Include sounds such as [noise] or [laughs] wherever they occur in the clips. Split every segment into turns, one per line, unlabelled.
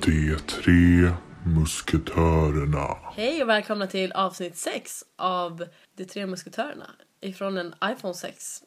De tre musketörerna.
Hej och välkomna till avsnitt 6 av De tre musketörerna ifrån en iPhone 6.
[laughs]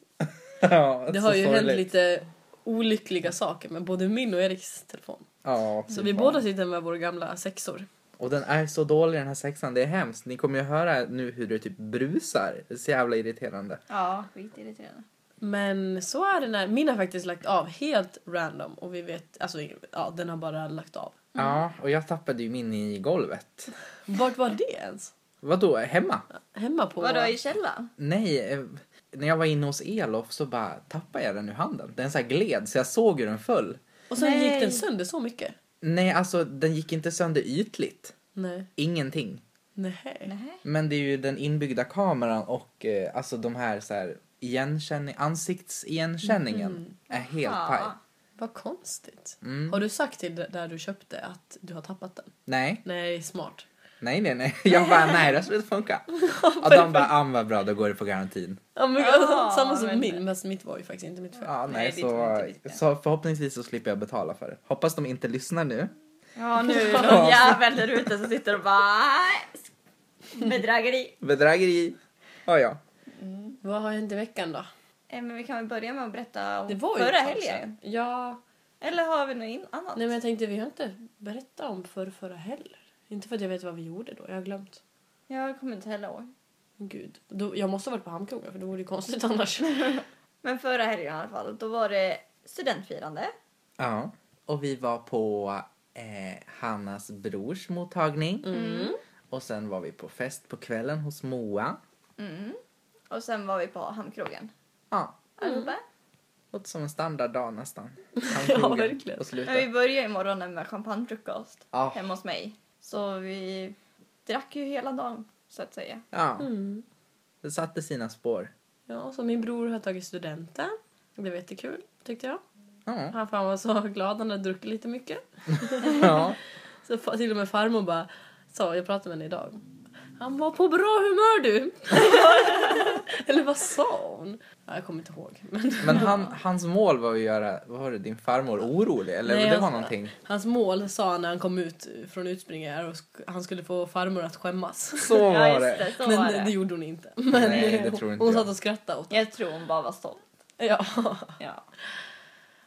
Ja,
Det
så
har ju hänt
sorgligt.
lite olyckliga saker med både min och Eriks telefon.
Ja,
Så vi båda sitter med våra gamla sexor.
Och den är så dålig den här sexan, det är hemskt. Ni kommer ju höra nu hur det typ brusar. Det är så jävla irriterande.
Ja, skitirriterande.
Men så är det när min har faktiskt lagt av helt random och vi vet, alltså ja den har bara lagt av.
Ja, och jag tappade ju min i golvet.
Vart var det ens?
Vadå, hemma?
Hemma på...
Vadå i källaren?
Nej, eh, när jag var inne hos Elof så bara tappade jag den ur handen. Den så här gled så jag såg hur den föll.
Och sen
Nej.
gick den sönder så mycket?
Nej, alltså den gick inte sönder ytligt.
Nej.
Ingenting.
Nej.
Nej.
Men det är ju den inbyggda kameran och eh, alltså de här så här igenkänning, ansiktsigenkänningen
Mm.
är helt
Ja.
paj.
Vad konstigt.
Mm.
Har du sagt till d- där du köpte att du har tappat den?
Nej,
Nej, smart.
nej, nej, nej. Jag bara, nej, det här skulle inte
[laughs]
funka. Och de bara, ah, vad bra, då går det på garantin.
Ja, men,
Ja,
samma som
men-
min, men mitt var ju faktiskt inte mitt fel.
Ja, nej,
Nej, det tror
så,
jag inte riktigt.
så förhoppningsvis så slipper jag betala för det. Hoppas de inte lyssnar nu.
[laughs]
Ja, nu är det någon jävel där ute som sitter och bara... "Nej, Bedrägeri.
Bedrägeri. Ja, ja.
Vad har hänt i veckan då?
Eh, Men vi kan väl börja med att berätta om
Det var ju
förra
ett tag sedan.
helgen.
Ja,
Eller har vi något in- annat?
nej men jag tänkte vi har inte berättat om förr, förra heller. Inte för att jag vet vad vi gjorde då, jag har glömt.
Jag kommer inte heller ihåg.
Gud, då, jag måste ha varit på Hamnkrogen för det vore ju konstigt [laughs] annars.
Men förra helgen i alla fall, då var det studentfirande.
Ja. Och vi var på eh, Hannas brors mottagning.
Mm.
Och sen var vi på fest på kvällen hos Moa.
Mm.
Och sen var vi på Hamnkrogen.
Ja,
Mm.
Allihopa.
låter som en standarddag nästan.
[laughs]
Ja, verkligen.
Och
Men vi
slutet.
började i morgonen med champagnefrukost
Ja.
hemma hos mig. Så vi drack ju hela dagen, så att säga.
Ja,
Mm.
det satte sina spår.
Ja, så min bror har tagit studenten. Det blev jättekul tyckte jag.
Ja.
Han fan var så glad, han hade druckit lite mycket.
ja.
Så fa- till och med farmor bara sa, jag pratade med henne idag. Han var på bra humör du! [laughs] Eller vad sa hon? Ja, jag kommer inte ihåg. Men [laughs]
Men han, hans mål var ju att göra, vad var det, din farmor orolig? Eller
Nej,
det
jag-
var någonting.
Hans mål sa han när han kom ut från utspringet är att sk- han skulle få farmor att skämmas.
Så
Ja,
var
just
det.
det. [laughs] Så
Men
var
det.
det.
gjorde hon inte. Men
Nej, det
hon-
tror inte
hon
jag.
satt och skrattade åt det.
Jag tror hon bara var stolt.
Ja. [laughs]
Ja.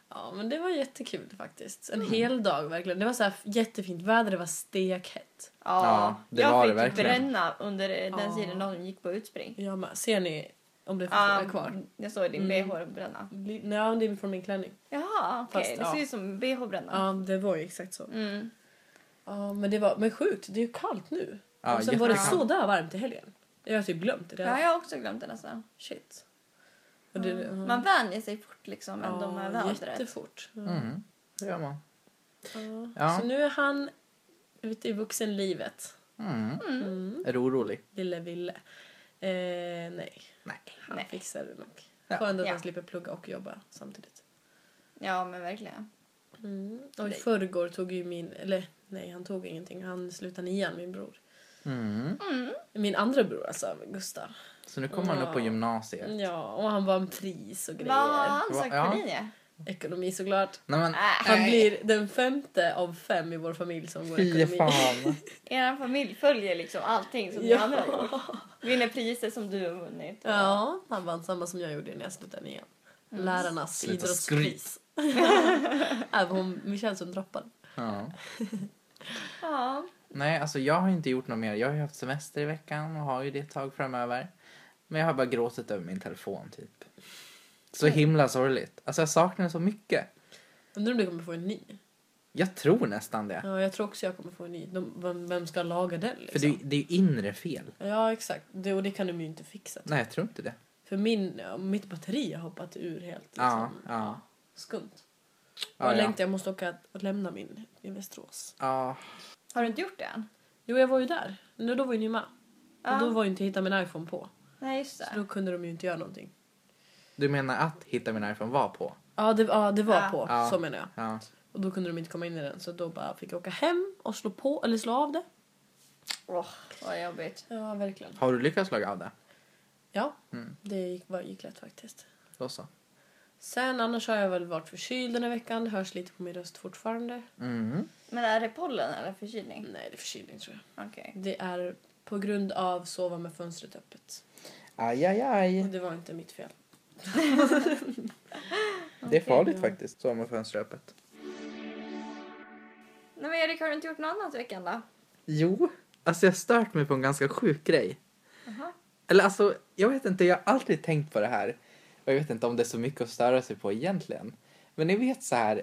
ja, men det var jättekul faktiskt.
Mm.
En hel dag verkligen. Det var så här jättefint väder, det var stekhett.
Ja, det
jag
var
fick
det verkligen.
bränna under den
Ja.
tiden de gick på utspring.
Jag med. Ser ni om det
Ja,
fortfarande är kvar?
Jag såg din
Mm.
bh bränna.
Li- Nej, det är från min klänning.
Jaha, okej.
Fast,
Det
ja.
ser ut som bh bränna.
Ja, det var ju exakt så.
Mm.
Ja, men det var men sjukt. Det är ju kallt nu.
Ja,
och sen var det så
jättekallt.
där varmt i helgen. Jag har typ glömt det
Det
redan.
har jag också glömt det nästan.
Shit. Och det, ja.
Mm. Man vänjer sig fort liksom ändå
Ja,
med vädret.
jättefort. Ja.
Mm. Det gör man.
Ja.
Ja.
Så nu är han ute i vuxenlivet.
Mm.
Mm.
Är du orolig?
Lille Ville. Eh, nej,
Nej.
han
Nej.
fixar det nog.
Ja.
Skönt att
Ja.
han slipper plugga och jobba samtidigt.
Ja, men verkligen.
Och i
Mm. Nej.
förrgår tog ju min, eller nej han tog ingenting, han slutade nian, min bror.
Mm.
Mm.
Min andra bror alltså, Gustav.
Så nu kommer han upp på
Ja.
gymnasiet.
Ja, och han vann pris och
Vad
grejer.
har han sagt
Ja.
för nio?
Ekonomi såklart.
Nej, men,
Äh,
Han blir den femte av fem i vår familj som går
fy
ekonomi.
fan.
er familj följer liksom allting som ni
Ja.
andra har gjort.
[laughs]
Vinner priser som du har vunnit.
Ja, han vann samma som jag gjorde när jag slutade nian.
Mm.
Lärarnas
Sluta
idrottspris. [laughs] Även hon, Michelle som droppade.
[laughs] Ja.
Ja.
Nej, alltså jag har inte gjort något mer. Jag har ju haft semester i veckan och har ju det ett tag framöver. Men jag har bara gråtit över min telefon typ. Så
Mm.
himla sorgligt. Alltså jag saknar den så mycket.
Undrar om du kommer få en ny?
Jag tror nästan det.
Ja, jag tror också jag kommer få en ny. De, vem, vem ska laga den
För
liksom?
det, är ju- det är ju inre fel.
Ja, exakt. Det, och det kan de ju inte fixa.
Nej, jag tror inte det.
För min, ja, mitt batteri har hoppat ur helt. Liksom.
Ja, ja.
Skumt. Och
Ja,
jag
ja.
längtar, jag måste åka och lämna min i Västerås.
ja.
Har du inte gjort det än?
Jo, jag var ju där. Nu, då var ju ni med.
Ja.
Och då var ju inte hitta min iPhone på.
Nej, just
Så
det.
då kunde de ju inte göra någonting.
Du menar att hitta min iPhone var på?
Ja, det, ja, det var
Ja.
på.
Ja.
Så menar jag.
Ja.
Och då kunde de inte komma in i den. Så då bara fick jag åka hem och slå på, eller slå av det.
Åh, vad jobbigt.
Ja, verkligen.
Har du lyckats laga av det?
Ja,
Mm.
det gick, var, gick lätt faktiskt.
Då så.
Sen annars har jag väl varit förkyld den här veckan. Det hörs lite på min röst fortfarande.
Mm.
Men är det pollen eller förkylning?
Nej, det är förkylning tror jag.
Okej.
Det är på grund av sova med fönstret öppet.
Aj, aj, aj.
Och det var inte mitt fel.
Det är farligt
ja.
faktiskt, så med fönstret öppet.
Nej men Erik, har du inte gjort något annat i veckan då?
Jo, alltså jag har stört mig på en ganska sjuk grej.
Jaha.
Eller alltså, jag vet inte, jag har aldrig tänkt på det här. Och jag vet inte om det är så mycket att störa sig på egentligen. Men ni vet så här,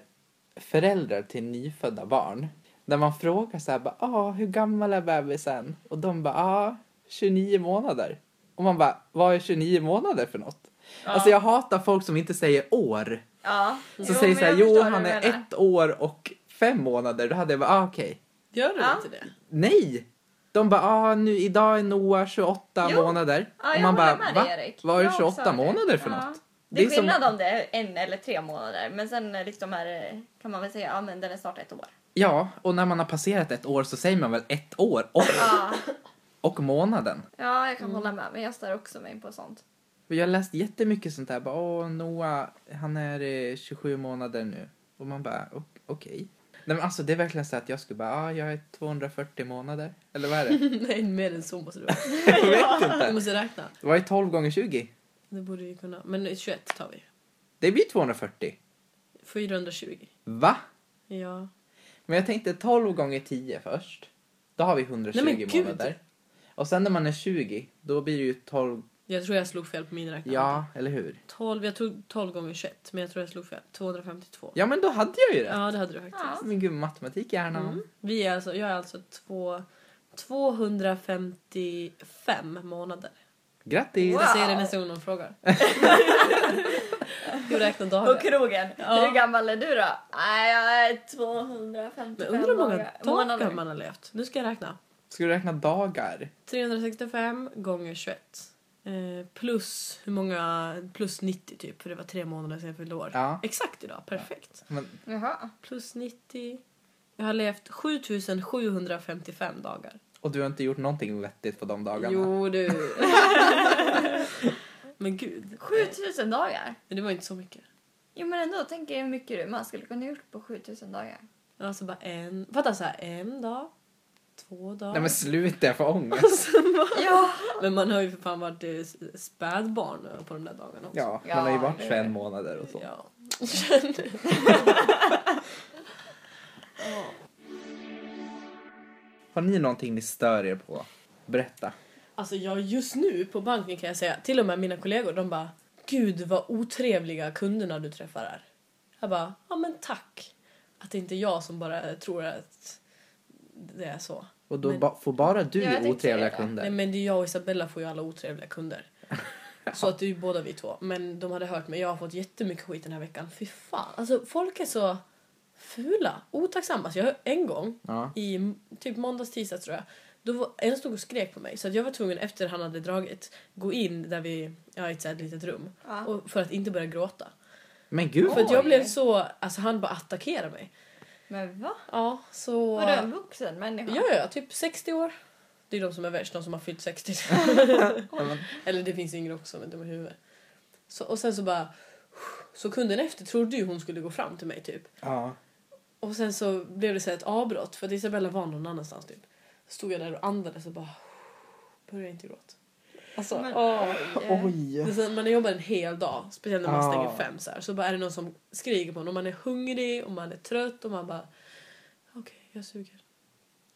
föräldrar till nyfödda barn. När man frågar så här, bara, ah, hur gammal är bebisen? Och de bara, ah, 29 månader. Och man bara, vad är 29 månader för något? Alltså jag hatar folk som inte säger år.
Ja.
Så säger
men
så här,
jag
jo
förstår vad
han
du
är
menar.
ett år och fem månader. Då hade jag bara, ah, okej.
Gör du
Ja.
inte det?
Nej! De bara, ah, nu, idag är Noah 28
Jo.
månader.
Ja,
och
jag
man bara,
håller med dig, Erik.
Vad är
Jag också
28
har det.
månader för
Ja.
något?
Det är
som-
skillnad om det är en eller tre månader. Men sen eh, liksom är, det- kan man väl säga, ja men den är snart ett år.
Ja, och när man har passerat ett år så säger man väl ett år och,
Ja,
och månaden.
ja jag kan
Mm.
hålla med. Men jag stör också mig på sånt.
Jag har läst jättemycket sånt där. Bara, Åh, Noah, han är eh, 27 månader nu. Och man bara, "Ok- okej. Nej, men alltså, det är verkligen så att jag skulle bara, ah, jag är 240 månader. Eller vad är
[laughs]
[laughs]
det?
Nej, mer än så måste det vara.
jag vet
Du
inte.
måste räkna.
Vad är 12 gånger 20?
Det borde vi kunna. Men 21 tar vi.
Det blir 240.
420.
Va?
Ja.
Men jag tänkte 12 gånger 10 först. Då har vi 120
Nej, men gud.
månader. Och sen när man är 20, då blir det ju 12...
Jag tror jag slog fel på min räkna.
Ja, eller hur?
12, jag tog 12 gånger 21, men jag tror jag slog fel. 252.
Ja, men då hade jag ju det.
Ja, det hade du faktiskt.
Ja.
Men gud, matematik i hjärnan.
Vi är alltså, jag är alltså två, 255 månader.
Grattis!
Wow.
Jag säger det nästa gång någon
[laughs]
frågar. Du räknar
På
dagar.
krogen.
Ja.
Hur gammal är du då? Nej, jag är 255
Men undrar hur många
dagar-
dagar man har levt. Nu ska jag räkna.
Ska du räkna dagar?
365 gånger 21. Eh, plus hur många, plus 90 typ, för det var tre månader sedan jag fyllde år.
Ja.
Exakt idag, perfekt.
Men,
Jaha.
Plus 90. Jag har levt 7755 dagar.
och du har inte gjort någonting vettigt på de dagarna?
Jo du. [laughs] men gud.
7000 dagar?
Men det var inte så mycket.
Jo men ändå, tänk er hur mycket man skulle kunna gjort på 7000 dagar.
Alltså bara en. Fatta så här, en dag. Två dagar.
Nej men sluta, jag får ångest.
Alltså, man-
Ja.
men man har ju för fan varit eh, s- spädbarn på de där dagarna också.
Ja,
Ja,
hon har ju varit
det-
21 månader och så.
Ja.
Har ni någonting ni stör er på? Berätta.
Alltså jag just nu på banken kan jag säga, till och med mina kollegor de bara Gud vad otrevliga kunderna du träffar är. Jag bara, ja men tack. Att det inte är jag som bara tror att det är så.
Och då
Men-
ba- får bara du
Ja, jag tänkte
otrevliga
säga det.
kunder.
Nej men det är jag och Isabella får ju alla otrevliga
[laughs]
kunder. Så att det är ju båda vi två. Men de hade hört mig, jag har fått jättemycket skit den här veckan. Fy fan. Alltså folk är så fula, otacksamma. Så jag, en gång
Ja.
i m- typ måndags, tisdag tror jag. Då var, en stod och skrek på mig så att jag var tvungen efter han hade dragit gå in där vi, ja i ett så här litet rum.
Ja.
Och, för att inte börja gråta.
Men gud
För att jag
Oj.
blev så, alltså han bara attackerade mig.
Men va?
Ja så...
Var du en vuxen människa?
Ja, ja, typ 60 år. Det är de som är värst, de som har fyllt 60. Eller det finns yngre också, men de är huvud. Så, och sen så bara... Så kunden efter trodde ju hon skulle gå fram till mig typ.
Ja.
Och sen så blev det så här ett avbrott för att Isabella var någon annanstans typ. Stod jag där och andades och bara... Började inte gråta. Alltså,
Men-
åh.
Eh,
Oj.
Men sen, man jobbar en hel dag, speciellt när man
Ja.
stänger fem så här, så bara är det någon som skriker på en och man är hungrig och man är trött och man bara... Okej, jag suger.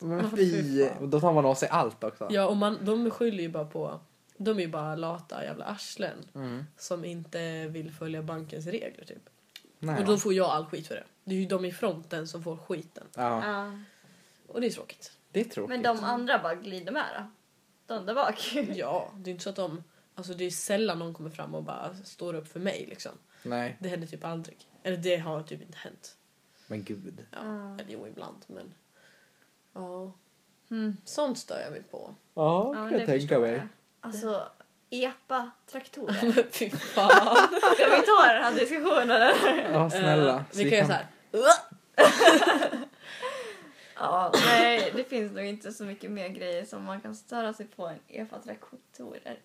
Men
Men
fy.
fy fan.
Och Då tar man av sig allt också.
Ja, och man, de skyller ju bara på... De är ju bara lata jävla arslen
Mm.
som inte vill följa bankens regler. Typ.
Nej,
Och då får jag all skit för det. Det är ju de i fronten som får skiten.
ja.
Ja.
Och det är tråkigt.
Det är tråkigt.
Men de andra bara glider med då? De där bak?
Ja, det är inte så att de... Alltså det är sällan någon kommer fram och bara står upp för mig. Liksom.
Nej,
Det händer typ aldrig. Eller det har typ inte hänt.
men gud.
Ja.
Mm.
Eller jo, ibland. Men... Ja.
Mm.
Sånt stör jag mig [laughs] på.
Ja,
men
kan
det
jag tänka
förstår
mig.
jag. Alltså, epa-traktorer.
Fy fan.
Ska vi ta den här diskussionen? eller?
Ja, snälla.
Eh,
Så
vi kan göra så här.
Ja, nej, det finns nog inte så mycket mer grejer som man kan störa sig på än epa-traktorer.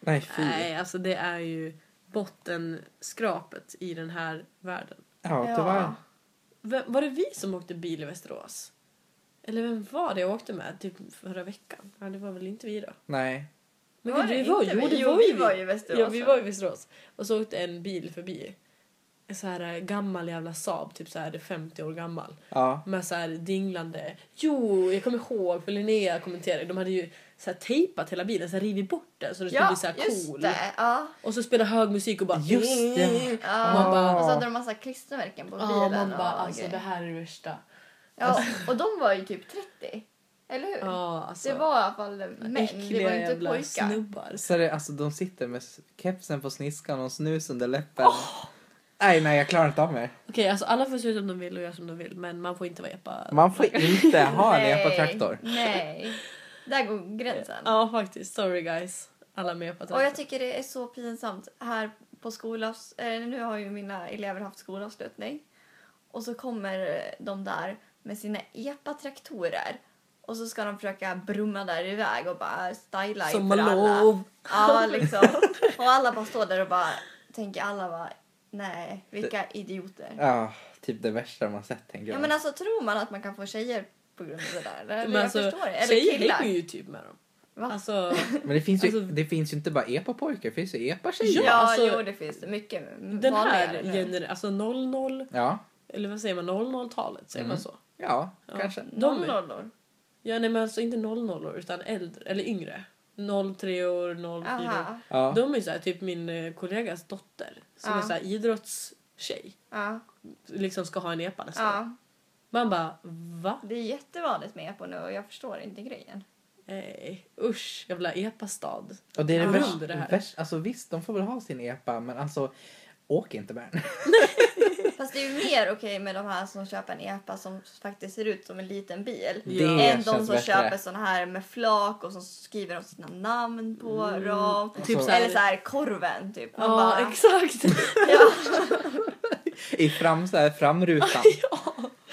Nej, fy.
Nej, alltså det är ju bottenskrapet i den här världen.
Ja, det var...
V- var det vi som åkte bil i Västerås? Eller vem var det jag åkte med typ förra veckan? Ja, det var väl inte vi då?
Nej.
Men
Var
det,
det
var,
inte
jo, det
vi? Jo,
var
vi
ju vi.
var ju i Västerås,
Ja, vi
va?
var i Västerås. Och så åkte en bil förbi. En så här eh, gammal jävla Saab, typ så här 50 år gammal.
Ja.
Med så här dinglande... Jo, jag kommer ihåg för Linnea kommenterade. De hade ju så här tejpat hela bilen, så här rivit bort den så det skulle
Ja,
bli så här
just
cool.
det. Ja.
Och så spelade hög musik och bara...
Just det.
Ja.
Och man bara...
Och så hade de massa klistermärken på bilen.
Ja, man bara
och
alltså
grejer.
det här är det värsta.
ja, och de var ju typ 30. Eller hur?
Alltså. Ja, alltså.
Det var i alla fall män, det var
äckliga
inte
jävla
pojkar.
snubbar.
Så är det, alltså, de sitter med s- kepsen på sniskan och snus under läppen. Nej, nej, jag klarar inte av mer.
Okej, alltså alla får se ut som de vill och göra som de vill men man får inte vara epa.
Man får inte ha en epatraktor.
Nej, där går gränsen.
Ja faktiskt, sorry guys. Alla med på
Och jag tycker det är så pinsamt här på skolavs... Eh, nu har ju mina elever haft skolavslutning. Och så kommer de där med sina epatraktorer. Och så ska de försöka brumma där iväg och bara styla inför alla.
Sommarlov!
Ja, liksom. Och alla bara står där och bara tänker alla bara nej, vilka idioter.
Ja, typ det värsta man sett tänker
Ja
jag.
men alltså tror man att man kan få tjejer på grund av det där? Eller?
Men
jag
alltså,
förstår det. Eller
tjejer
killar.
hänger ju typ med dem.
Va? [laughs]
Alltså,
Men det finns ju,
Alltså-
det finns ju inte bara epa-pojkar, det finns ju epa-tjejer.
Ja,
Ja, alltså-
jo, det finns det. Mycket
den här
vanligare nu.
generationen, alltså 00,
Ja,
eller vad säger man, 00-talet, säger man så?
ja,
Ja.
kanske.
De är,
nollor.
ja nej men alltså inte 00 utan äldre, eller yngre. 03 år, 04
Aha.
Ja.
De är ju såhär typ min eh, kollegas dotter som
Ja.
är såhär idrottstjej.
Ja,
Liksom ska ha en epa nästa år.
ja.
Man bara va?
Det är jättevanligt med på nu och jag förstår inte grejen.
Nej, Eh, usch, jävla epastad.
Och det är det,
Ja.
värsta,
Det här.
värsta- Alltså visst, de får väl ha sin epa, men alltså åk inte med den. [laughs]
Fast det är ju mer okej med de här som köper en EPA som faktiskt ser ut som en liten bil.
Ja.
Det
Än de
känns
som
bättre.
köper såna här med flak och som skriver de sina namn på dem.
Typ
så-
så
Eller så här korven typ. Man
Ja,
bara,
exakt.
[laughs]
[laughs]
ja,
I fram, så här, framrutan.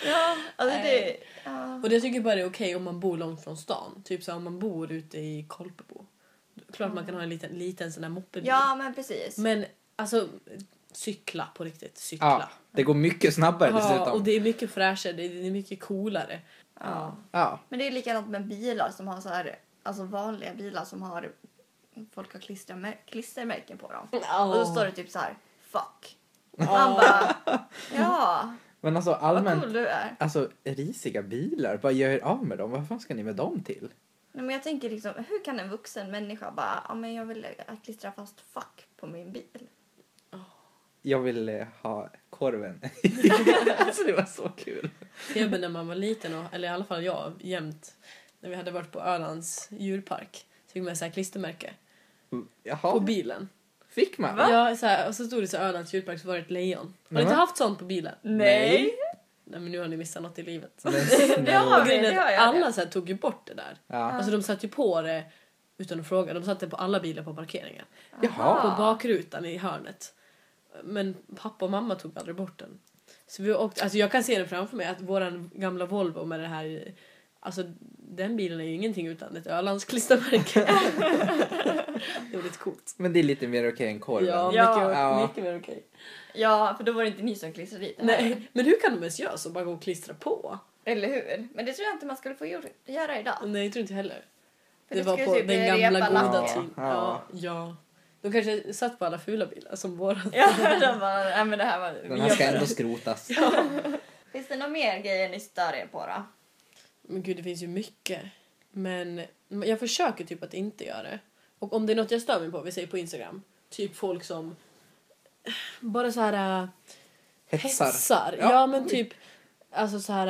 ja, alltså det, ja.
Och det tycker jag bara är okej om man bor långt från stan. Typ så här, om man bor ute i Kolpebo. Klart man kan ha en liten, liten sån där moppebil.
ja, men precis.
Men alltså, cykla på riktigt.
Ja,
Cykla.
det går mycket snabbare
Ja, och
dessutom.
det är mycket fräschare, det är det är mycket coolare.
Ja.
Ja,
Men det är likadant med bilar som har så här, alltså vanliga bilar som har, folk har klistermär- klistermärken på dem. Och då står det typ så här, fuck. Och man bara,
[laughs]
ja,
men alltså
vad
allmänt.
cool du är.
Alltså risiga bilar, vad gör er av med dem? Vad fan ska ni med dem till?
Nej, men jag tänker liksom, hur kan en vuxen människa bara, ja men jag vill eh, klistra fast fuck på min bil.
Jag vill eh, ha korven. [laughs] alltså det var så kul.
Jag men när man var liten, och, eller i alla fall jag, jämt när vi hade varit på Ölands djurpark så fick man så här klistermärke på
Jaha,
bilen.
fick man?
Ja, så här, och så stod det så här, Ölands djurpark så var det ett lejon. Har ni
Nej,
inte
va?
haft sånt på bilen?
Nej.
Nej men nu har ni missat något i livet.
Men
[laughs] Det
snälla.
har
Och
vi,
grejen
det
är
har
att
jag.
alla så här, tog ju bort det där. [laughs]
Ja.
Alltså de satte ju på det utan att fråga. De satte på alla bilar på parkeringen.
Jaha.
På bakrutan i hörnet. Men pappa och mamma tog aldrig bort den. Så vi åkte, alltså jag kan se det framför mig att våran gamla Volvo med det här i- Alltså den bilen är ju ingenting utan ett Ölands
[laughs]
klistermärke. det var lite coolt.
Men det är lite mer okej än korven.
Ja,
Ja.
mycket,
Ja.
mycket mer okej.
Ja, för då var det inte ni som klistrade dit den här.
Nej, men hur kan de ens göra så? Bara gå och klistra på?
Eller hur? Men det tror jag inte man skulle få gjor- göra idag.
Nej, jag tror inte heller.
För
Det, var
skulle
på
typ
den
repa
gamla goda
lacken.
tid.
tiden. Ja,
Ja.
ja. De kanske satt på alla fula bilar som våra.
[laughs] Ja, de bara, nej men det här var...
Den här ska ändå skrotas.
Finns det några mer grejer ni stör er på då?
Men gud, det finns ju mycket. Men jag försöker typ att inte göra det. Och om det är något jag stör mig på, vi säger på Instagram, typ folk som eh, bara så här äh,
Hetsar.
hetsar. Ja,
Ja.
men typ alltså så här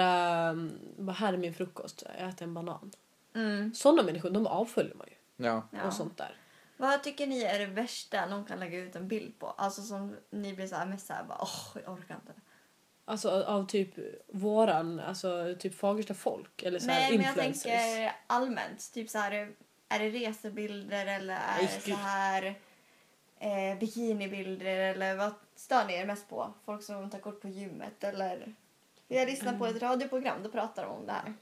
äh, vad här är min frukost, jag äter en banan.
Mm.
Sådana människor, de avföljer man ju.
Ja.
Ja.
Och sånt där.
Vad tycker ni är det värsta någon kan lägga ut en bild på? Alltså som ni blir så här mest såhär bara åh, jag orkar inte.
Alltså av typ våran, alltså typ Fagersta folk eller så här
Nej men jag
influencers.
tänker allmänt. Typ så här, är det resebilder eller är
Nej,
det så
gud.
här eh, bikinibilder eller vad stör ni er mest på? Folk
Mm.
som tar kort på gymmet eller? Vi har lyssnat på ett radioprogram, då pratar de om det här.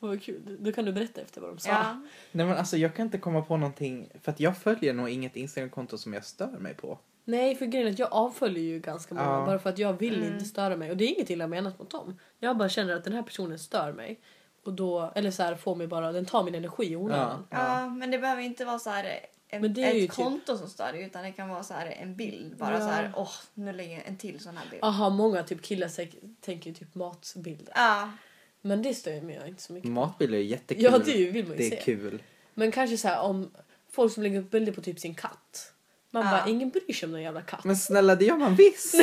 Vad kul. Då kan du berätta efter vad de sa.
Ja.
Nej men alltså jag kan inte komma på någonting. För att jag följer nog inget Instagramkonto som jag stör mig på.
Nej, för grejen är att jag avföljer ju ganska många
Ja.
bara för att jag vill
Mm.
inte störa mig. Och det är inget illa menat mot dem. Jag bara känner att den här personen stör mig. Och då, eller så här får mig bara, den tar min energi i onödan.
Ja, men det behöver inte vara så här en,
Men det är ju
ett
typ-
konto som stör dig, utan det kan vara så här en bild. Bara
Ja.
så här, åh, nu lägger jag en till sån här bild. Ja.
Aha, många typ killar säk- tänker ju typ matbilder. Men det stör ju mig jag inte så
Mm.
mycket.
Matbilder är jättekul.
Ja, det vill man ju
Det
se.
är kul.
Men kanske så här om folk som lägger upp bilder på typ sin katt. Man
Ja.
bara, ingen bryr sig om någon jävla katt. Men...
Men snälla det gör
[laughs]
man visst!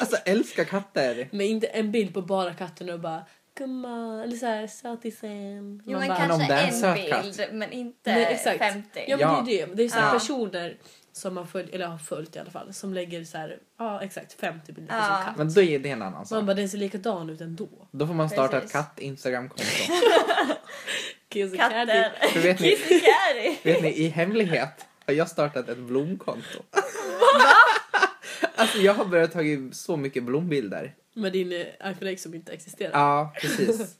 alltså älskar katter.
inte en bild på bara katten och bara gumman, eller såhär sötisen.
Jo,
Man
men
bara-
om
kanske
det är en
en
söt
bild, men inte
Nej, exakt.
50.
Ja, men det är ju det. Det är så här
Ja.
personer som man följ, eller har följt i alla fall som lägger så här, ja exakt 50 bilder på
Ja.
sin katt.
Men då är det en annan sak.
Man bara den ser likadan ut ändå.
Då får man starta
Precis.
ett katt-instagramkonto.
Kiss and
[laughs] Katter.
Candy.
För vet ni,
Kissy Carrie.
vet ni, i hemlighet har jag startat ett blomkonto. [laughs] alltså jag har börjat ta så mycket blombilder.
Med din eh, iPhone X som inte existerar.
Ja, precis.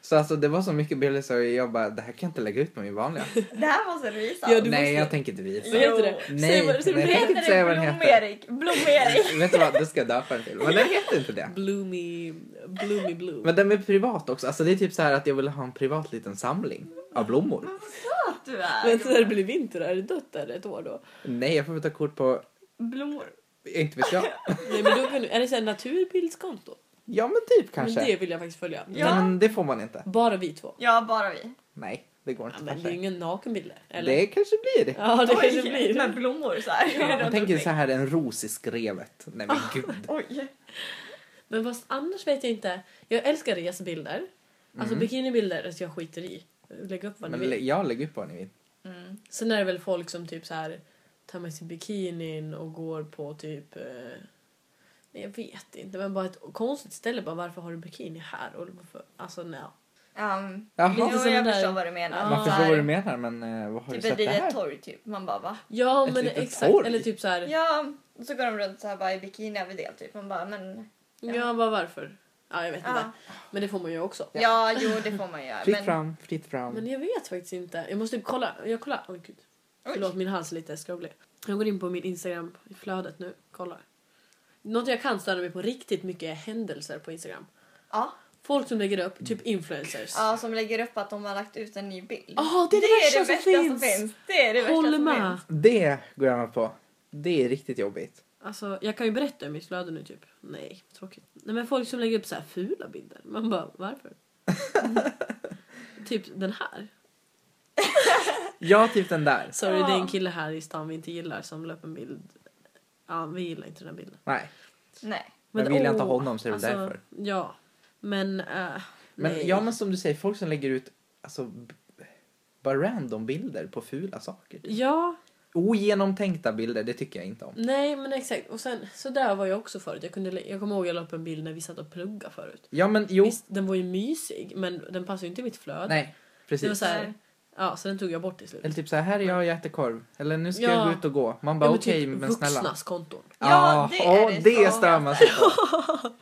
Så alltså det var så mycket bilder så jag bara, det här kan jag inte lägga ut på min vanliga.
[laughs]
Det här måste du visa.
Ja, du-
Nej,
måste-
jag tänker inte visa.
Vad heter det?
Jo.
Säg vad, säg vad
Nej,
det
nej.
heter.
inte säga vad den
Blom
heter.
Erik. Blom
[laughs]
Erik.
Vet du vad, det ska jag döpa den till. Men den heter inte det.
Bloomy, bloomy blue.
Men den är privat också. Alltså det är typ så här att jag vill ha en privat liten samling av blommor.
Att du är.
Men så när det blir vinter, är det dött där ett år då?
Nej, jag får väl ta kort på,
Blommor.
inte vet jag.
Nej men då kan du, är det såhär naturbildskonto?
Ja men typ kanske.
Men det vill jag faktiskt följa.
Ja.
Men det får man inte.
Bara vi två.
Ja, bara vi.
Nej, det går inte.
Ja, men det
kanske.
är ju ingen nakenbilder. Eller?
Det kanske blir.
Ja det kanske
Oj,
blir.
Med blommor så här. runt
Jag tänker
omkring.
så här en ros i skrevet. Nej
Ah.
men gud.
Oj.
Men fast annars vet jag inte. Jag älskar resbilder. Alltså bikinibilder, alltså jag skiter i. Lägg upp vad ni
Men lä-
vill.
jag lägger upp vad ni vill.
Mm.
Sen är det väl folk som typ så här tar med sig bikinin och går på typ... Eh, nej, jag vet inte, men bara ett konstigt ställe. Bara, varför har du bikini här? Och varför, alltså nej.
Um,
Jaha.
jo,
sån
jag
där-
förstår vad du menar.
Ja.
Man
Så
förstår
här,
vad du menar men eh, vad har
Typ
du
ett
sett det
litet
här?
torg typ. Man bara va?
Ja
Ett
men
litet
exakt.
torg.
Eller typ så här. Ja,
Ja, och så går de runt så här bara i bikini över det typ. Man bara men
vad varför? Ja jag vet
Ja.
inte. Men det får man ju också.
ja, jo det får man göra.
Fritt
Men,
fram, fritt fram.
Men jag vet faktiskt inte. Jag måste kolla. Jag kollar. Oj gud. Förlåt, min hals är lite skrovlig. Jag går in på min Instagram i flödet nu. Kollar. Något jag kan störa mig på riktigt mycket är händelser på Instagram.
ja,
Folk som lägger upp, typ influencers.
ja, som lägger upp att de har lagt ut en ny bild.
Ah, det är det värsta som finns.
Det är det värsta
Håller
som
med.
finns.
Det går jag med på. Det är riktigt jobbigt.
Alltså, jag kan ju berätta om mitt flöde nu typ. Nej, tråkigt. Nej men folk som lägger upp så här fula bilder. Man bara,
[laughs]
varför? typ den här.
Ja, typ den där.
Sorry,
Ja.
det är en kille här i stan vi inte gillar som la upp en bild. Ja, vi gillar inte den här bilden.
Nej,
Nej.
Men vill jag inte ha
åh,
honom så är det därför.
oh, alltså, Ja. Men, eh,
men,
nej.
ja, men som du säger, folk som lägger ut alltså, b- bara random bilder på fula saker.
Ja,
Ogenomtänkta bilder, det tycker jag inte om.
nej men exakt. Och sen, så där var jag också förut. Jag, kunde, lä- jag kommer ihåg jag la upp en bild när vi satt och pluggade förut.
Ja, men jo.
Visst, den var ju mysig men den passar ju inte i mitt flöde.
Nej,
det var
precis.
så här, ja, så den tog jag bort till slut.
Eller typ så här, här är jag och jag äter korv. Eller nu ska
Ja.
jag gå ut och gå. Man bara
Ja, men
okej,
typ
men snälla.
vuxnas konton. [laughs]
Ja, det är
åh,
det
det
så.
stör man sig på.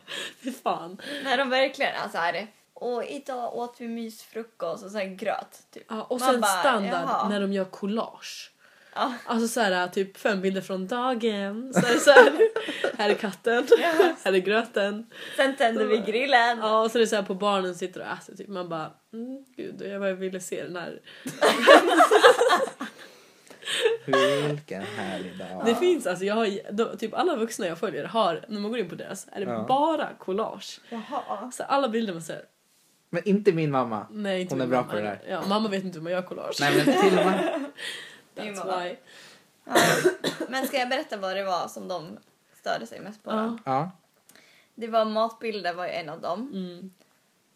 Fy fan.
När de verkligen alltså, är så här. Och idag åt vi mysfrukost och sen gröt. Typ.
Ja, och
Man
sen
bara,
standard
jaha.
när de gör collage.
Ja.
Alltså så här, typ fem bilder från dagen. Så här, så
[laughs]
här, här är katten, här är gröten.
Sen tände vi grillen.
Ja, och så är det så här på barnen sitter och äter. Typ. Man bara, mm, gud, jag bara ville se den här.
Vilken härlig dag.
Det finns alltså, jag har, de, typ alla vuxna jag följer har, när man går in på deras, är det
Ja.
bara collage.
Jaha.
Så alla bilder man ser,
Men inte min mamma.
nej inte
Hon är
min
bra
mamma.
på det där.
Ja, mamma vet inte hur man gör collage.
Nej, men till och med.
Min
That's
mamma.
why.
Men ska jag berätta vad det var som de störde sig mest på? då?
Ja.
Ja.
Det var matbilder var ju en av dem.
Mm.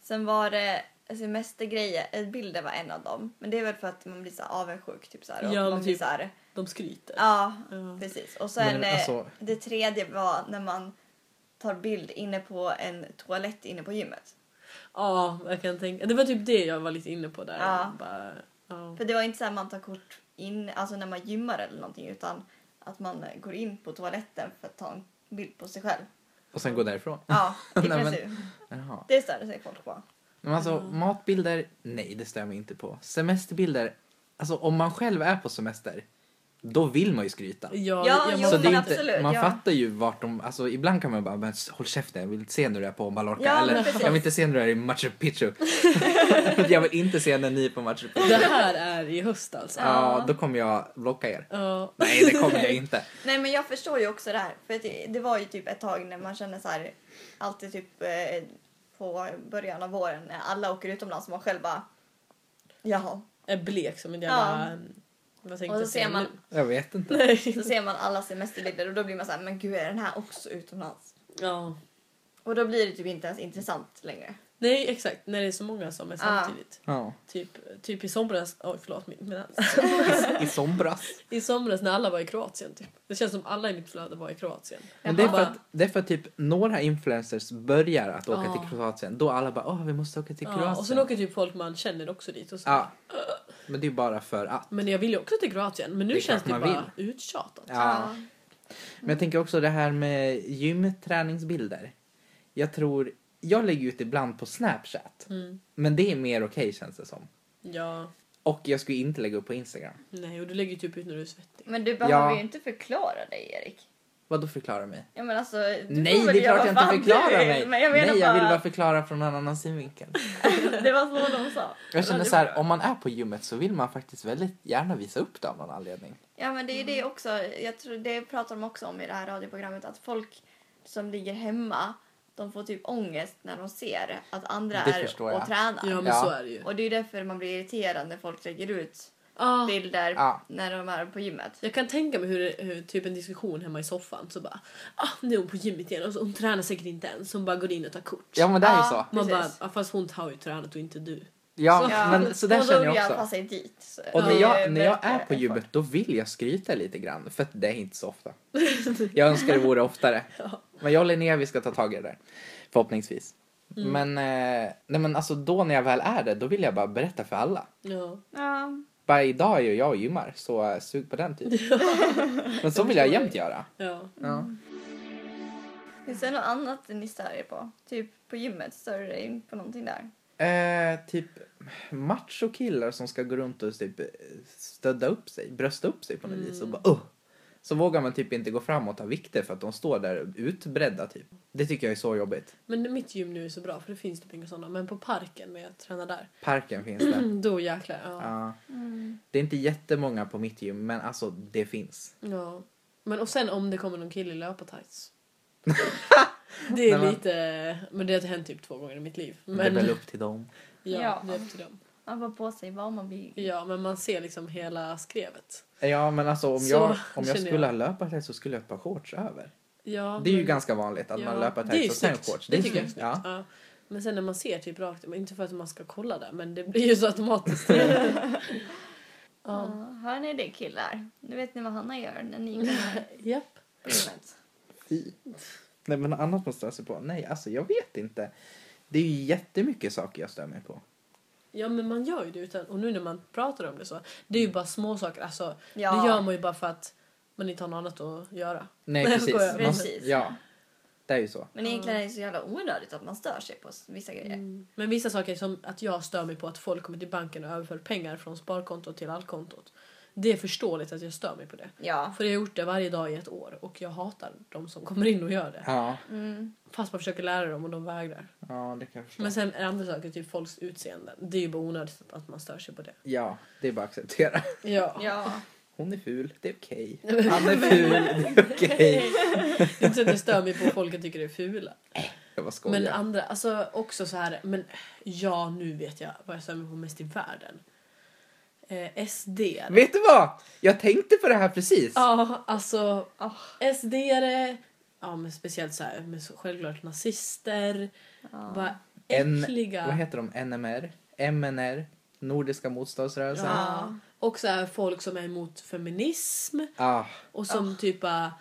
Sen var det alltså, semestergrejer, eh, bilder var en av dem. Men det är väl för att man blir så här avundsjuk typ så här, och
Ja,
man
men
blir
typ.
så här,
De skryter.
ja,
Ja.
precis. Och sen
Men alltså-
eh, det tredje var när man tar bild inne på en toalett inne på gymmet.
Ja, jag kan tänka. Det var typ det jag var lite inne på där.
Ja.
Bara, ja.
För det var inte så här man tar kort in, alltså när man gymmar eller någonting utan att man eh, går in på toaletten för att ta en
[laughs]
bild på sig själv.
Och sen gå därifrån.
Ja, i
Nej, men-
princip.
Jaha.
Det störde sig folk på.
Men alltså, matbilder, nej det stämmer inte på. Semesterbilder, alltså om man själv är på semester, då vill man ju skryta.
Ja,
Ja,
jag
jo,
Så
måste-
det är
men
inte,
absolut,
man
ja.
fattar ju vart de, alltså ibland kan man ju bara, men håll käften, jag vill inte se när du är på Mallorca.
Ja, men
Eller,
precis.
jag vill inte se när du är i Machu
[laughs]
Picchu. jag vill inte se när ni är på Machu Picchu.
det här är i höst alltså.
Ja, då kommer jag blocka er.
Ja.
Nej, det kommer
[laughs]
jag inte.
Nej men jag förstår ju också det här. För att det, det var ju typ ett tag när man kände så här alltid typ eh, på början av våren när alla åker utomlands och man själv bara jaha.
Är blek som en jävla...
Ja.
Vad tänkte
Och så
jag
ser
säga
man,
nu?
Jag vet inte.
Nej.
så ser man alla semesterbilder och då blir man så här men gud är den här också utomlands?
Ja.
Och då blir det typ inte ens intressant längre.
Nej, exakt. När det är så många som är samtidigt.
Ja.
Typ, typ i somras... Oj, förlåt. min- mina-
I somras.
I somras när alla var i Kroatien. Typ. Det känns som alla i mitt flöde var i Kroatien.
Men det, är
Jaha.
för att, det är för att typ några influencers börjar att åka
Ja.
till Kroatien. Då alla bara åh vi måste åka till Kroatien. Ah.
Ja, och sen åker typ folk man känner också dit. Och så.
Ja. Men det är ju bara för att.
Men jag vill ju också till Kroatien. Men nu
Det är
känns det
klart man
bara uttjatat.
Ja. Men jag tänker också det här med gymträningsbilder. Jag tror, jag lägger ut ibland på Snapchat.
Mm.
Men det är mer okej känns det som.
Ja.
Och jag skulle inte lägga upp på Instagram.
Nej, och du lägger ju typ ut när du är svettig.
Men du behöver
Ja.
ju inte förklara dig Erik.
Vad då förklara mig?
Ja, men alltså, du
Nej
får väl
det är
göra
klart jag
vad
inte
fan du
förklarar
vill,
mig.
Men jag menar
Nej jag vill bara
bara,
förklara från en annan synvinkel.
[laughs] det var så de sa.
Jag känner
det
så här, om man är på gymmet så vill man faktiskt väldigt gärna visa upp det av någon anledning.
Ja men det är ju det också, jag tror det pratar de också om i det här radioprogrammet att folk som ligger hemma de får typ ångest när de ser att andra
Det
är
förstår
och
jag.
tränar.
Ja, men
Ja.
så är det ju.
Och det är ju därför man blir irriterad när folk lägger ut
Ah.
bilder
Ja.
när de är på gymmet.
Jag kan tänka mig hur, det- hur typ en diskussion hemma i soffan så bara ah, nu är hon på gymmet igen och så, hon tränar säkert inte ens. Hon bara går in och tar kort.
Ja men det är ju
Ja.
så.
Man bara,
precis.
ah, fast hon har ju tränat och inte du.
Ja,
Så-
men så där
och [laughs] då
känner
vill
jag också.
anpassa mig dit. Så
Och när
det
jag, när jag
märker
är på
en
gymmet då vill jag skryta lite grann för att det är inte så ofta. Jag önskar det vore oftare. Men jag och Linnea vi ska ta tag i det där. Förhoppningsvis. Men, eh, nej men alltså då när jag väl är det då vill jag bara berätta för alla.
[laughs] Ja.
fart. Ja.
Bara idag är ju jag och gymmar så eh, sug på den typ. Men så vill jag jämt göra.
ja.
Ja.
Finns det något annat ni stör er på? Typ på gymmet, stör du dig in på någonting där?
Eh, typ machokillar som ska gå runt och typ eh, stödda upp sig, brösta upp sig på något vis och
Mm.
bara uh. Så vågar man typ inte gå fram och ta vikter för att de står där utbredda typ. Det tycker jag är så jobbigt.
Men mitt gym nu är så bra för det finns typ inga sådana. Men på parken när jag tränar där,
Parken finns där.
då jäklar. Ja.
Ja.
Mm.
Det är inte jättemånga på mitt gym men alltså det finns.
Ja. Men och sen om det kommer någon kille i
[laughs]
löpartights. det är
Nej, men-
lite... Men det har hänt typ två gånger i mitt liv. Men,
Det är väl upp till dem.
Ja,
Ja.
det är upp till dem.
Man får på sig vad man vill.
Ja, men man ser liksom hela skrevet.
Ja men alltså om
Så [laughs]
jag, om jag
känner
skulle
jag.
ha löpartält så skulle jag ha ett par shorts över.
Ja,
Det är ju
men-
ganska vanligt att
ja,
man löpar
det är ju
tights och sen
snyggt.
shorts.
Det, tycker jag är
snyggt.
snyggt.
Ja.
Ja. Men sen när man ser typ rakt, men inte för att man ska kolla där, men det blir ju så automatiskt. ja.
Ja. Hör ni det killar? Nu vet ni vad Hanna gör när ni går
Japp. [laughs]
på gymmet.
Fy. Nej men något annat man stör sig på? Nej alltså jag vet inte. Det är ju jättemycket saker jag stör mig på.
Ja men man gör ju det utan, och nu när man pratar om det så, det
Mm.
är ju bara små saker. Alltså,
Ja.
Det gör man ju bara för att man inte har något annat att göra.
Nej
[laughs] jag
precis.
skojar.
Man-
Precis.
Ja. Det är ju så.
Men egentligen är det så jävla onödigt att man stör sig på vissa grejer.
Men vissa saker som att jag stör mig på att folk kommer till banken och överför pengar från sparkontot till allkontot. Det är förståeligt att jag stör mig på det.
Ja.
För jag har gjort det varje dag i ett år och jag hatar de som kommer in och gör det.
Ja.
Fast man försöker lära dem och de vägrar.
Ja det kan jag förstå.
Men sen är det andra saker, typ folks utseende. Det är ju bara onödigt att man stör sig på det.
Ja det är bara att acceptera.
Ja.
Ja.
Hon är ful, det är
[laughs]
okej. Han är ful, det är okej.
Det är inte så att jag stör mig på att folk jag tycker är fula.
Jag bara skojar.
Men andra, alltså också så här, men ja nu vet jag vad jag stör mig på mest i världen. Eh, SD.
Vet du vad? Jag tänkte på det här precis.
Ja, alltså
Ah.
sd ja men speciellt så här, men så, självklart nazister, bara
N-
äckliga.
Vad heter de? NMR? MNR? Nordiska motståndsrörelsen?
ja. Och så här, folk som är emot feminism
Ah.
och som typ bara,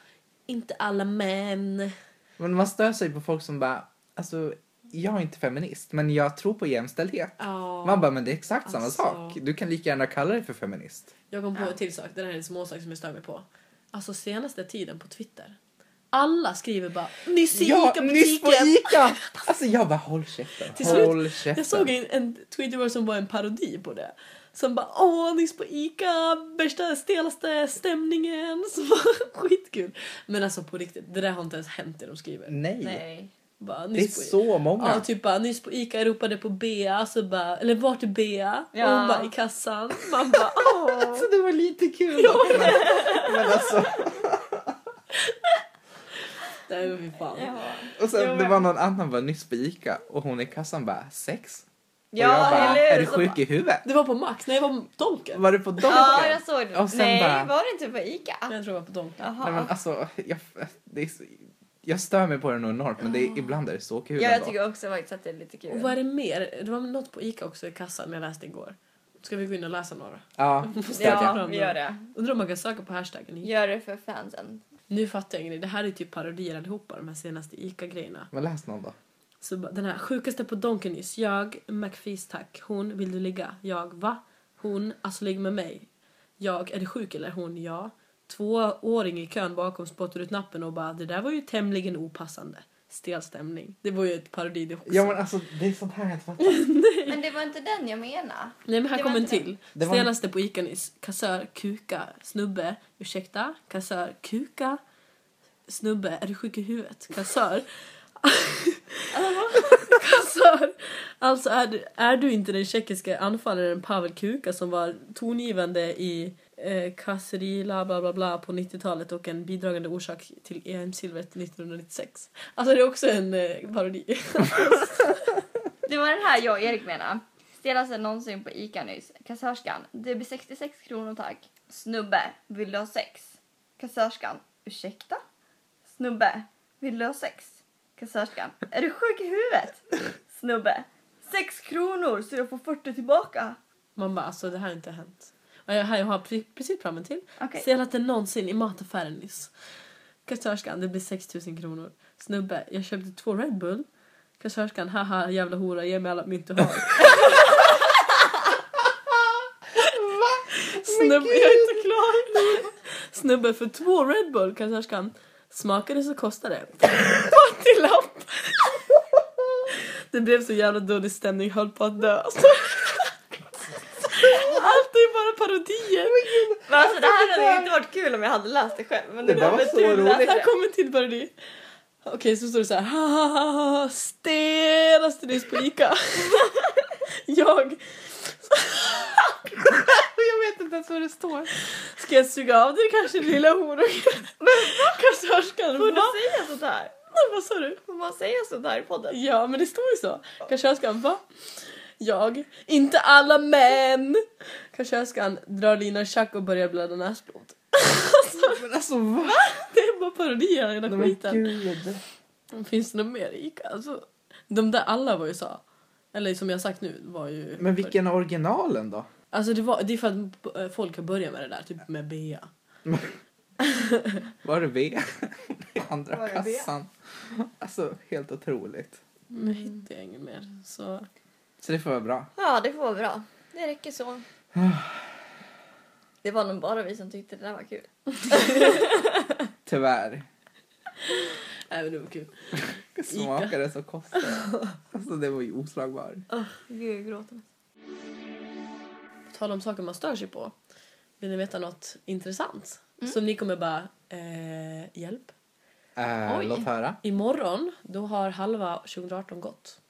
inte alla män.
Men man stör sig på folk som bara, alltså jag är inte feminist men jag tror på jämställdhet.
Ja.
Man bara, men det är exakt samma
Alltså.
sak. Du kan lika gärna kalla dig för feminist.
Jag kom på en till sak, den här är en småsak som jag stör mig på. Alltså senaste tiden på Twitter Alla skriver bara nyss i
Ja, nyss på
ICA-butiken.
Ica! Alltså jag bara håll käften,
Till slut,
håll käften.
Jag såg en, en tweet igår som var en parodi på det. Som bara åh nyss på ICA, värsta stelaste stämningen. Så bara, [laughs] skitkul. Men alltså på riktigt, det där har inte ens hänt det de skriver.
Nej.
Nej.
Bara,
det är
nyss på ICA.
så många.
Ja, typ bara nyss på ICA ropade på Bea, så bara, eller vart är Bea?
Ja.
Och hon bara i kassan. Man bara åh.
Alltså det var lite kul. men, men alltså,
Nej men fy fan.
Ja,
och sen,
Jo,
det
men-
var någon annan bara nyss på Ica och hon i kassan bara sex. Och
ja
jag bara,
eller hur?
är du
Så
sjuk i huvudet?
Det var på Max, nej det var på Donken.
Var du på
bara-
Donken?
Ja, jag såg det.
Och sen
Nej,
bara-
var det inte på Ica?
Jag tror det var på Donken.
Jaha.
Nej, men alltså, jag, det är, så- jag stör mig på den enormt men det är, ibland är det så kul
ja, jag
ändå.
tycker också faktiskt att det är lite kul.
Och vad är det mer? Det var något på ICA också i kassan jag läste igår. Ska vi gå in och läsa några?
Ja,
Ja, vi gör det.
Undrar om man kan söka på hashtaggen. ICA.
Gör det för fansen.
Nu fattar jag en grej. Det här är typ parodier allihopa, de här senaste ICA-grejerna.
men läs någon då.
Så bara, den här sjukaste på Donken nyss. Jag, McFees tack. Hon, vill du ligga? Jag, va? Hon, alltså ligg med mig. Jag, är du sjuk eller? Hon, ja. Tvååring i kön bakom spottar ut nappen och bara, det där var ju tämligen opassande. Stel stämning. Det var ju ett parodi det också.
Ja men alltså det är sånt här jag inte
[laughs]
fattar.
Men det var inte den jag menade.
Nej men här
Det
kom
var
en
inte
till.
Det var-
Stelaste på Ica nyss. Kassör, kuka, snubbe. Ursäkta? Kassör, kuka, snubbe. Är du sjuk i huvudet?
[laughs]
Kassör. Kassör. Alltså är du, är du inte den tjeckiska anfallaren Pavel Kuka som var tongivande i eh, Kasserila bla bla bla på 90-talet och en bidragande orsak till EM-silvret 1996? Alltså det är också en eh, parodi.
[laughs]
[laughs]
Det var den här jag och Erik menade. Stelaste någonsin på Ica nyss. Kassörskan. Det blir 66 kronor tack. Snubbe. Vill du ha sex? Kassörskan. Ursäkta? Snubbe. Vill du ha sex? Kassörskan. Är du sjuk i huvudet? Snubbe. Sex kronor så jag får 40 tillbaka.
Man bara, alltså det här har inte hänt. Och jag, här, jag har pre- precis fram en till.
Okej.
Selaste någonsin i mataffären nyss. Kassörskan, det blir 6 000 kronor. Snubbe, jag köpte två Red Bull. Kassörskan, haha jävla hora, ge mig alla mynt
[laughs]
du har. Va? Snubbe, jag är inte klar. Snubbe, för två Red Bull. Kassörskan, smakade så kostade det. Fattiglapp! Det blev så jävla dålig stämning, höll på att dö. Allt är bara parodier.
Men alltså det här hade ju inte varit kul om jag hade läst det själv. Men det,
Det där var
väl
så
tur att läsa
roligt.
det. [laughs]
Här kommer en till parodi. Okej, så står det så här. "Ha, ha, ha, ha, Stelaste nyss på Ica. [laughs] Jag
Jag vet inte ens vad det står.
ska jag suga av dig kanske lilla horunge.
[laughs]
Kassörskan.
Får
Va?
man säga sånt här?
Vad sa du?
Får man säga sånt här i podden?
Ja, men det står ju så. Kassörskan. Va? Jag. Inte alla män. Kassörskan drar linan i schack och börjar blöda näsblod.
[laughs] Men alltså va?
[laughs] Det är bara parodier hela
Men
skiten.
gud.
[laughs] Finns det något mer i Ica? Alltså, de där alla var ju så. Eller som jag sagt nu var ju...
Men vilken är originalen då?
Alltså det, var, det är för att eh, folk har börjat med det där, typ med Bea.
Var det V? [laughs] Andra
Var det V?
kassan. Alltså helt otroligt.
Nu hittar jag inget mer. Så
Så det får vara bra.
Ja, det får vara bra. Det räcker så. Det var nog bara vi som tyckte det där var kul.
Tyvärr.
nej men det var kul.
Smakar det så kostar det. Alltså det var ju oslagbar.
Oh, gud, jag gråter.
På tal om saker man stör sig på. Vill ni veta något intressant? Som ni kommer bara, eh, hjälp.
Äh,
Oj.
låt höra.
Imorgon, då har halva 2018 gått.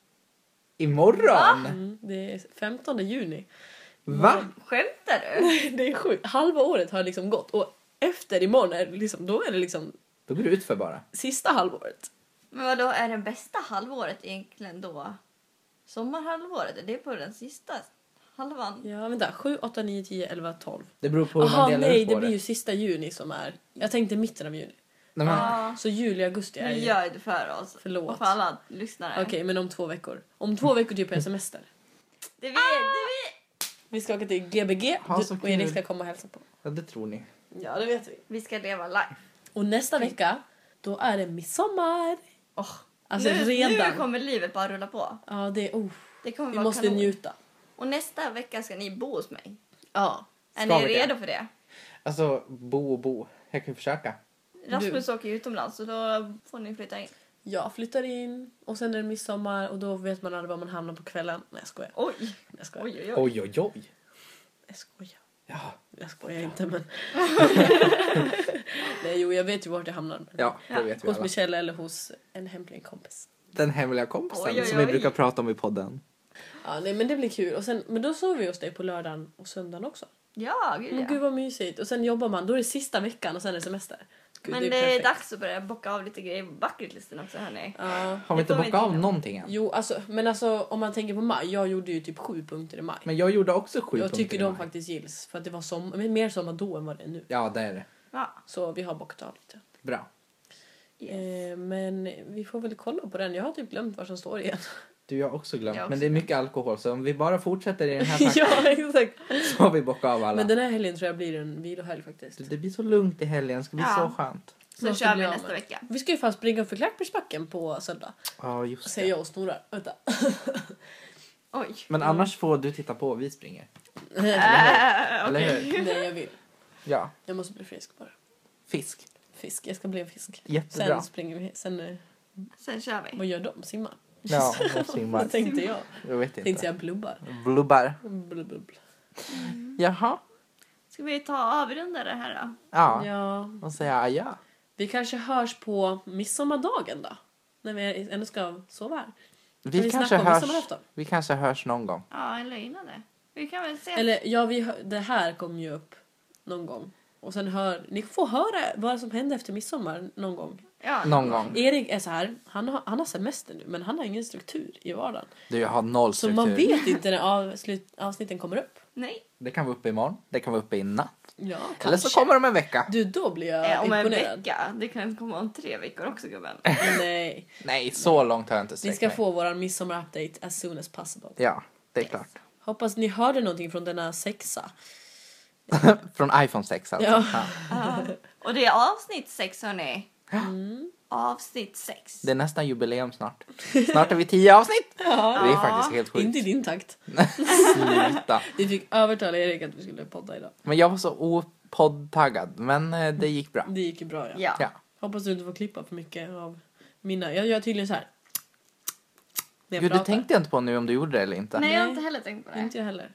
Imorgon?
Mm, det är 15 juni. [laughs]
Va?
Skämtar du?
Det är sjukt. Halva året har liksom gått och efter imorgon är det liksom, då är det liksom
Då går det ut för bara.
sista halvåret.
Men vadå, är det bästa halvåret egentligen då? Sommarhalvåret, är det på den sista halvan?
Ja, vänta. 7, 8, 9, 10, 11, 12.
Det beror på hur
Jaha,
man delar
nej,
ut på
det
det.
blir ju sista juni som är... Jag tänkte mitten av juni.
Nej, men,
Ja.
Så juli, augusti är
Nu
ju...
gör det för oss.
Förlåt.
Och för alla lyssnare.
Okej, men om två veckor. Om två veckor typ är det semester.
Det är vi, det är vi!
Vi ska åka till Gbg
Ha, så
du, och Erik
kul.
ska komma och hälsa på.
ja, det tror ni.
Ja, det vet vi.
Vi ska leva life.
Och nästa vecka, då är det midsommar. Oh, alltså
nu,
redan.
nu kommer livet bara rulla på.
Ja, det är... Oh,
Det kommer
vi
vara
måste
kanon.
njuta.
Och nästa vecka ska ni bo hos mig.
Ja.
Är
Ska
ni
vi det?
redo för det?
Alltså, bo och bo. Jag kan ju försöka.
Rasmus åker ju utomlands så då får ni flytta in.
Jag flyttar in och sen är det midsommar och då vet man aldrig var man hamnar på kvällen. Nej jag skojar.
Oj!
Nej, Jag skojar.
Oj, oj, oj.
Oj, oj, oj.
Jag skojar.
Ja.
Jag skojar inte [laughs] men. Nej jo jag vet ju vart jag hamnar. Men.
Ja, det
Ja.
vet vi
Hos
alla.
Michelle eller hos en hemlig kompis.
Den hemliga kompisen
Oj, oj,
som vi
oj.
brukar prata om i podden.
Ja, nej, men det blir kul. Och sen, men då sover vi hos dig på lördagen och söndagen också.
Ja, gud
Men
ja.
Gud vad mysigt. Och sen jobbar man, då är det sista veckan och sen är det semester. Gud,
Men det är,
perfekt.
dags att börja bocka av lite grejer på bucketlisten också hörni.
Ja.
Har vi
Det
inte
får vi
bockat av
inte.
någonting än?
Jo, alltså, men alltså om man tänker på maj. Jag gjorde ju typ sju punkter i maj.
Men jag gjorde också sju
jag
punkter
tycker
i
de
maj.
faktiskt gills. För att det var som, men mer sommar då än vad det är nu.
Ja, det är det.
Ja.
Så vi har bockat av lite.
Bra.
Eh, men vi får väl kolla på den. Jag har typ glömt vad som står igen.
Du, jag har också glömt.
Jag har
Men
också
det är mycket alkohol så om vi bara fortsätter i den här takten
[laughs] ja, exakt.
så har vi bockat av alla.
Men den här helgen tror jag blir en vilohelg faktiskt.
Du, Det blir så lugnt i helgen, det ska bli
Ja.
så skönt.
Så
Måste
kör
bli
vi
av
nästa
med.
vecka.
Vi ska ju fan springa för Klackbergsbacken på söndag.
Ja, just
Säger
det.
jag och snorar. Vänta.
Oj.
Men annars får du titta på, vi springer.
Äh,
Eller hur?
Nej, jag vill.
Ja,
Jag måste bli frisk bara.
fisk.
Fisk. Jag ska bli en fisk. Sen
Jättebra.
springer vi. Sen, eh,
Sen kör vi.
vad gör de? Simmar?
Ja, och
Vad
simmar.
tänkte jag?
Jag vet
Tänkte
inte.
jag blubbar.
Blubbar.
Blub, blub, blub.
Jaha.
Ska vi ta och avrunda det här då?
Ja.
Ja.
Och säga aja.
Vi kanske hörs på midsommardagen då. När vi ändå ska sova här.
Vi,
vi
kanske
snacka om
hörs,
midsommarafton?
vi kanske hörs någon gång.
Ja, eller innan det. Vi kan väl se.
Eller ja, vi, hö- det här kommer ju upp någon gång. Och sen hör, ni får höra vad som hände efter midsommar någon gång.
Ja.
Någon gång.
Erik är så här, han har, han har semester nu men han har ingen struktur i vardagen.
Du, jag har noll
Så
struktur.
man vet inte när avslut, avsnitten kommer upp.
Nej.
Det kan vara uppe imorgon, det kan vara uppe i natt.
Ja,
Eller
kanske.
så kommer de en vecka.
Du, då blir jag
Eh, om en
imponerad. Eh.
vecka. Det kan komma om tre veckor också gubben.
Nej.
Nej, så långt har jag inte
Vi
sträckt
ska
mig.
få vår midsommar-update as soon as possible.
Ja, det är klart.
Hoppas ni hörde någonting från denna sexa.
Från iPhone 6 alltså.
Ja.
Ja.
Ja. Och det är avsnitt sex hörni. Mm. Avsnitt sex.
Det är nästan jubileum snart. Snart är vi tio
[laughs]
avsnitt! Det är faktiskt helt sjukt.
Inte i din takt.
Sluta.
Vi fick övertala Erik att vi skulle podda idag.
Men jag var så opoddtaggad, men eh, det gick bra.
Det gick ju bra ja.
Ja.
Ja.
Hoppas du inte får klippa för mycket av mina. Jag gör tydligen så här. När jag
Gud, det
pratar.
tänkte jag inte på nu om du gjorde det eller inte.
Nej, jag har
Nej.
inte heller tänkt på det.
Inte jag heller.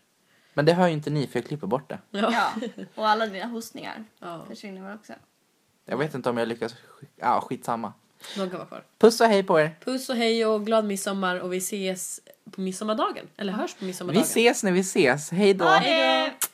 Men det hör ju inte ni för jag klipper bort det.
Ja.
Ja. Och alla dina hostningar
Ja.
försvinner väl också.
Jag vet inte om jag lyckas. sk- Ja, skitsamma.
[laughs] De kan vara kvar.
Puss och hej på er!
Puss och hej och glad midsommar och vi ses på midsommardagen. Eller hörs på
Vi
midsommardagen.
ses när vi ses. Hej då!
Ha det!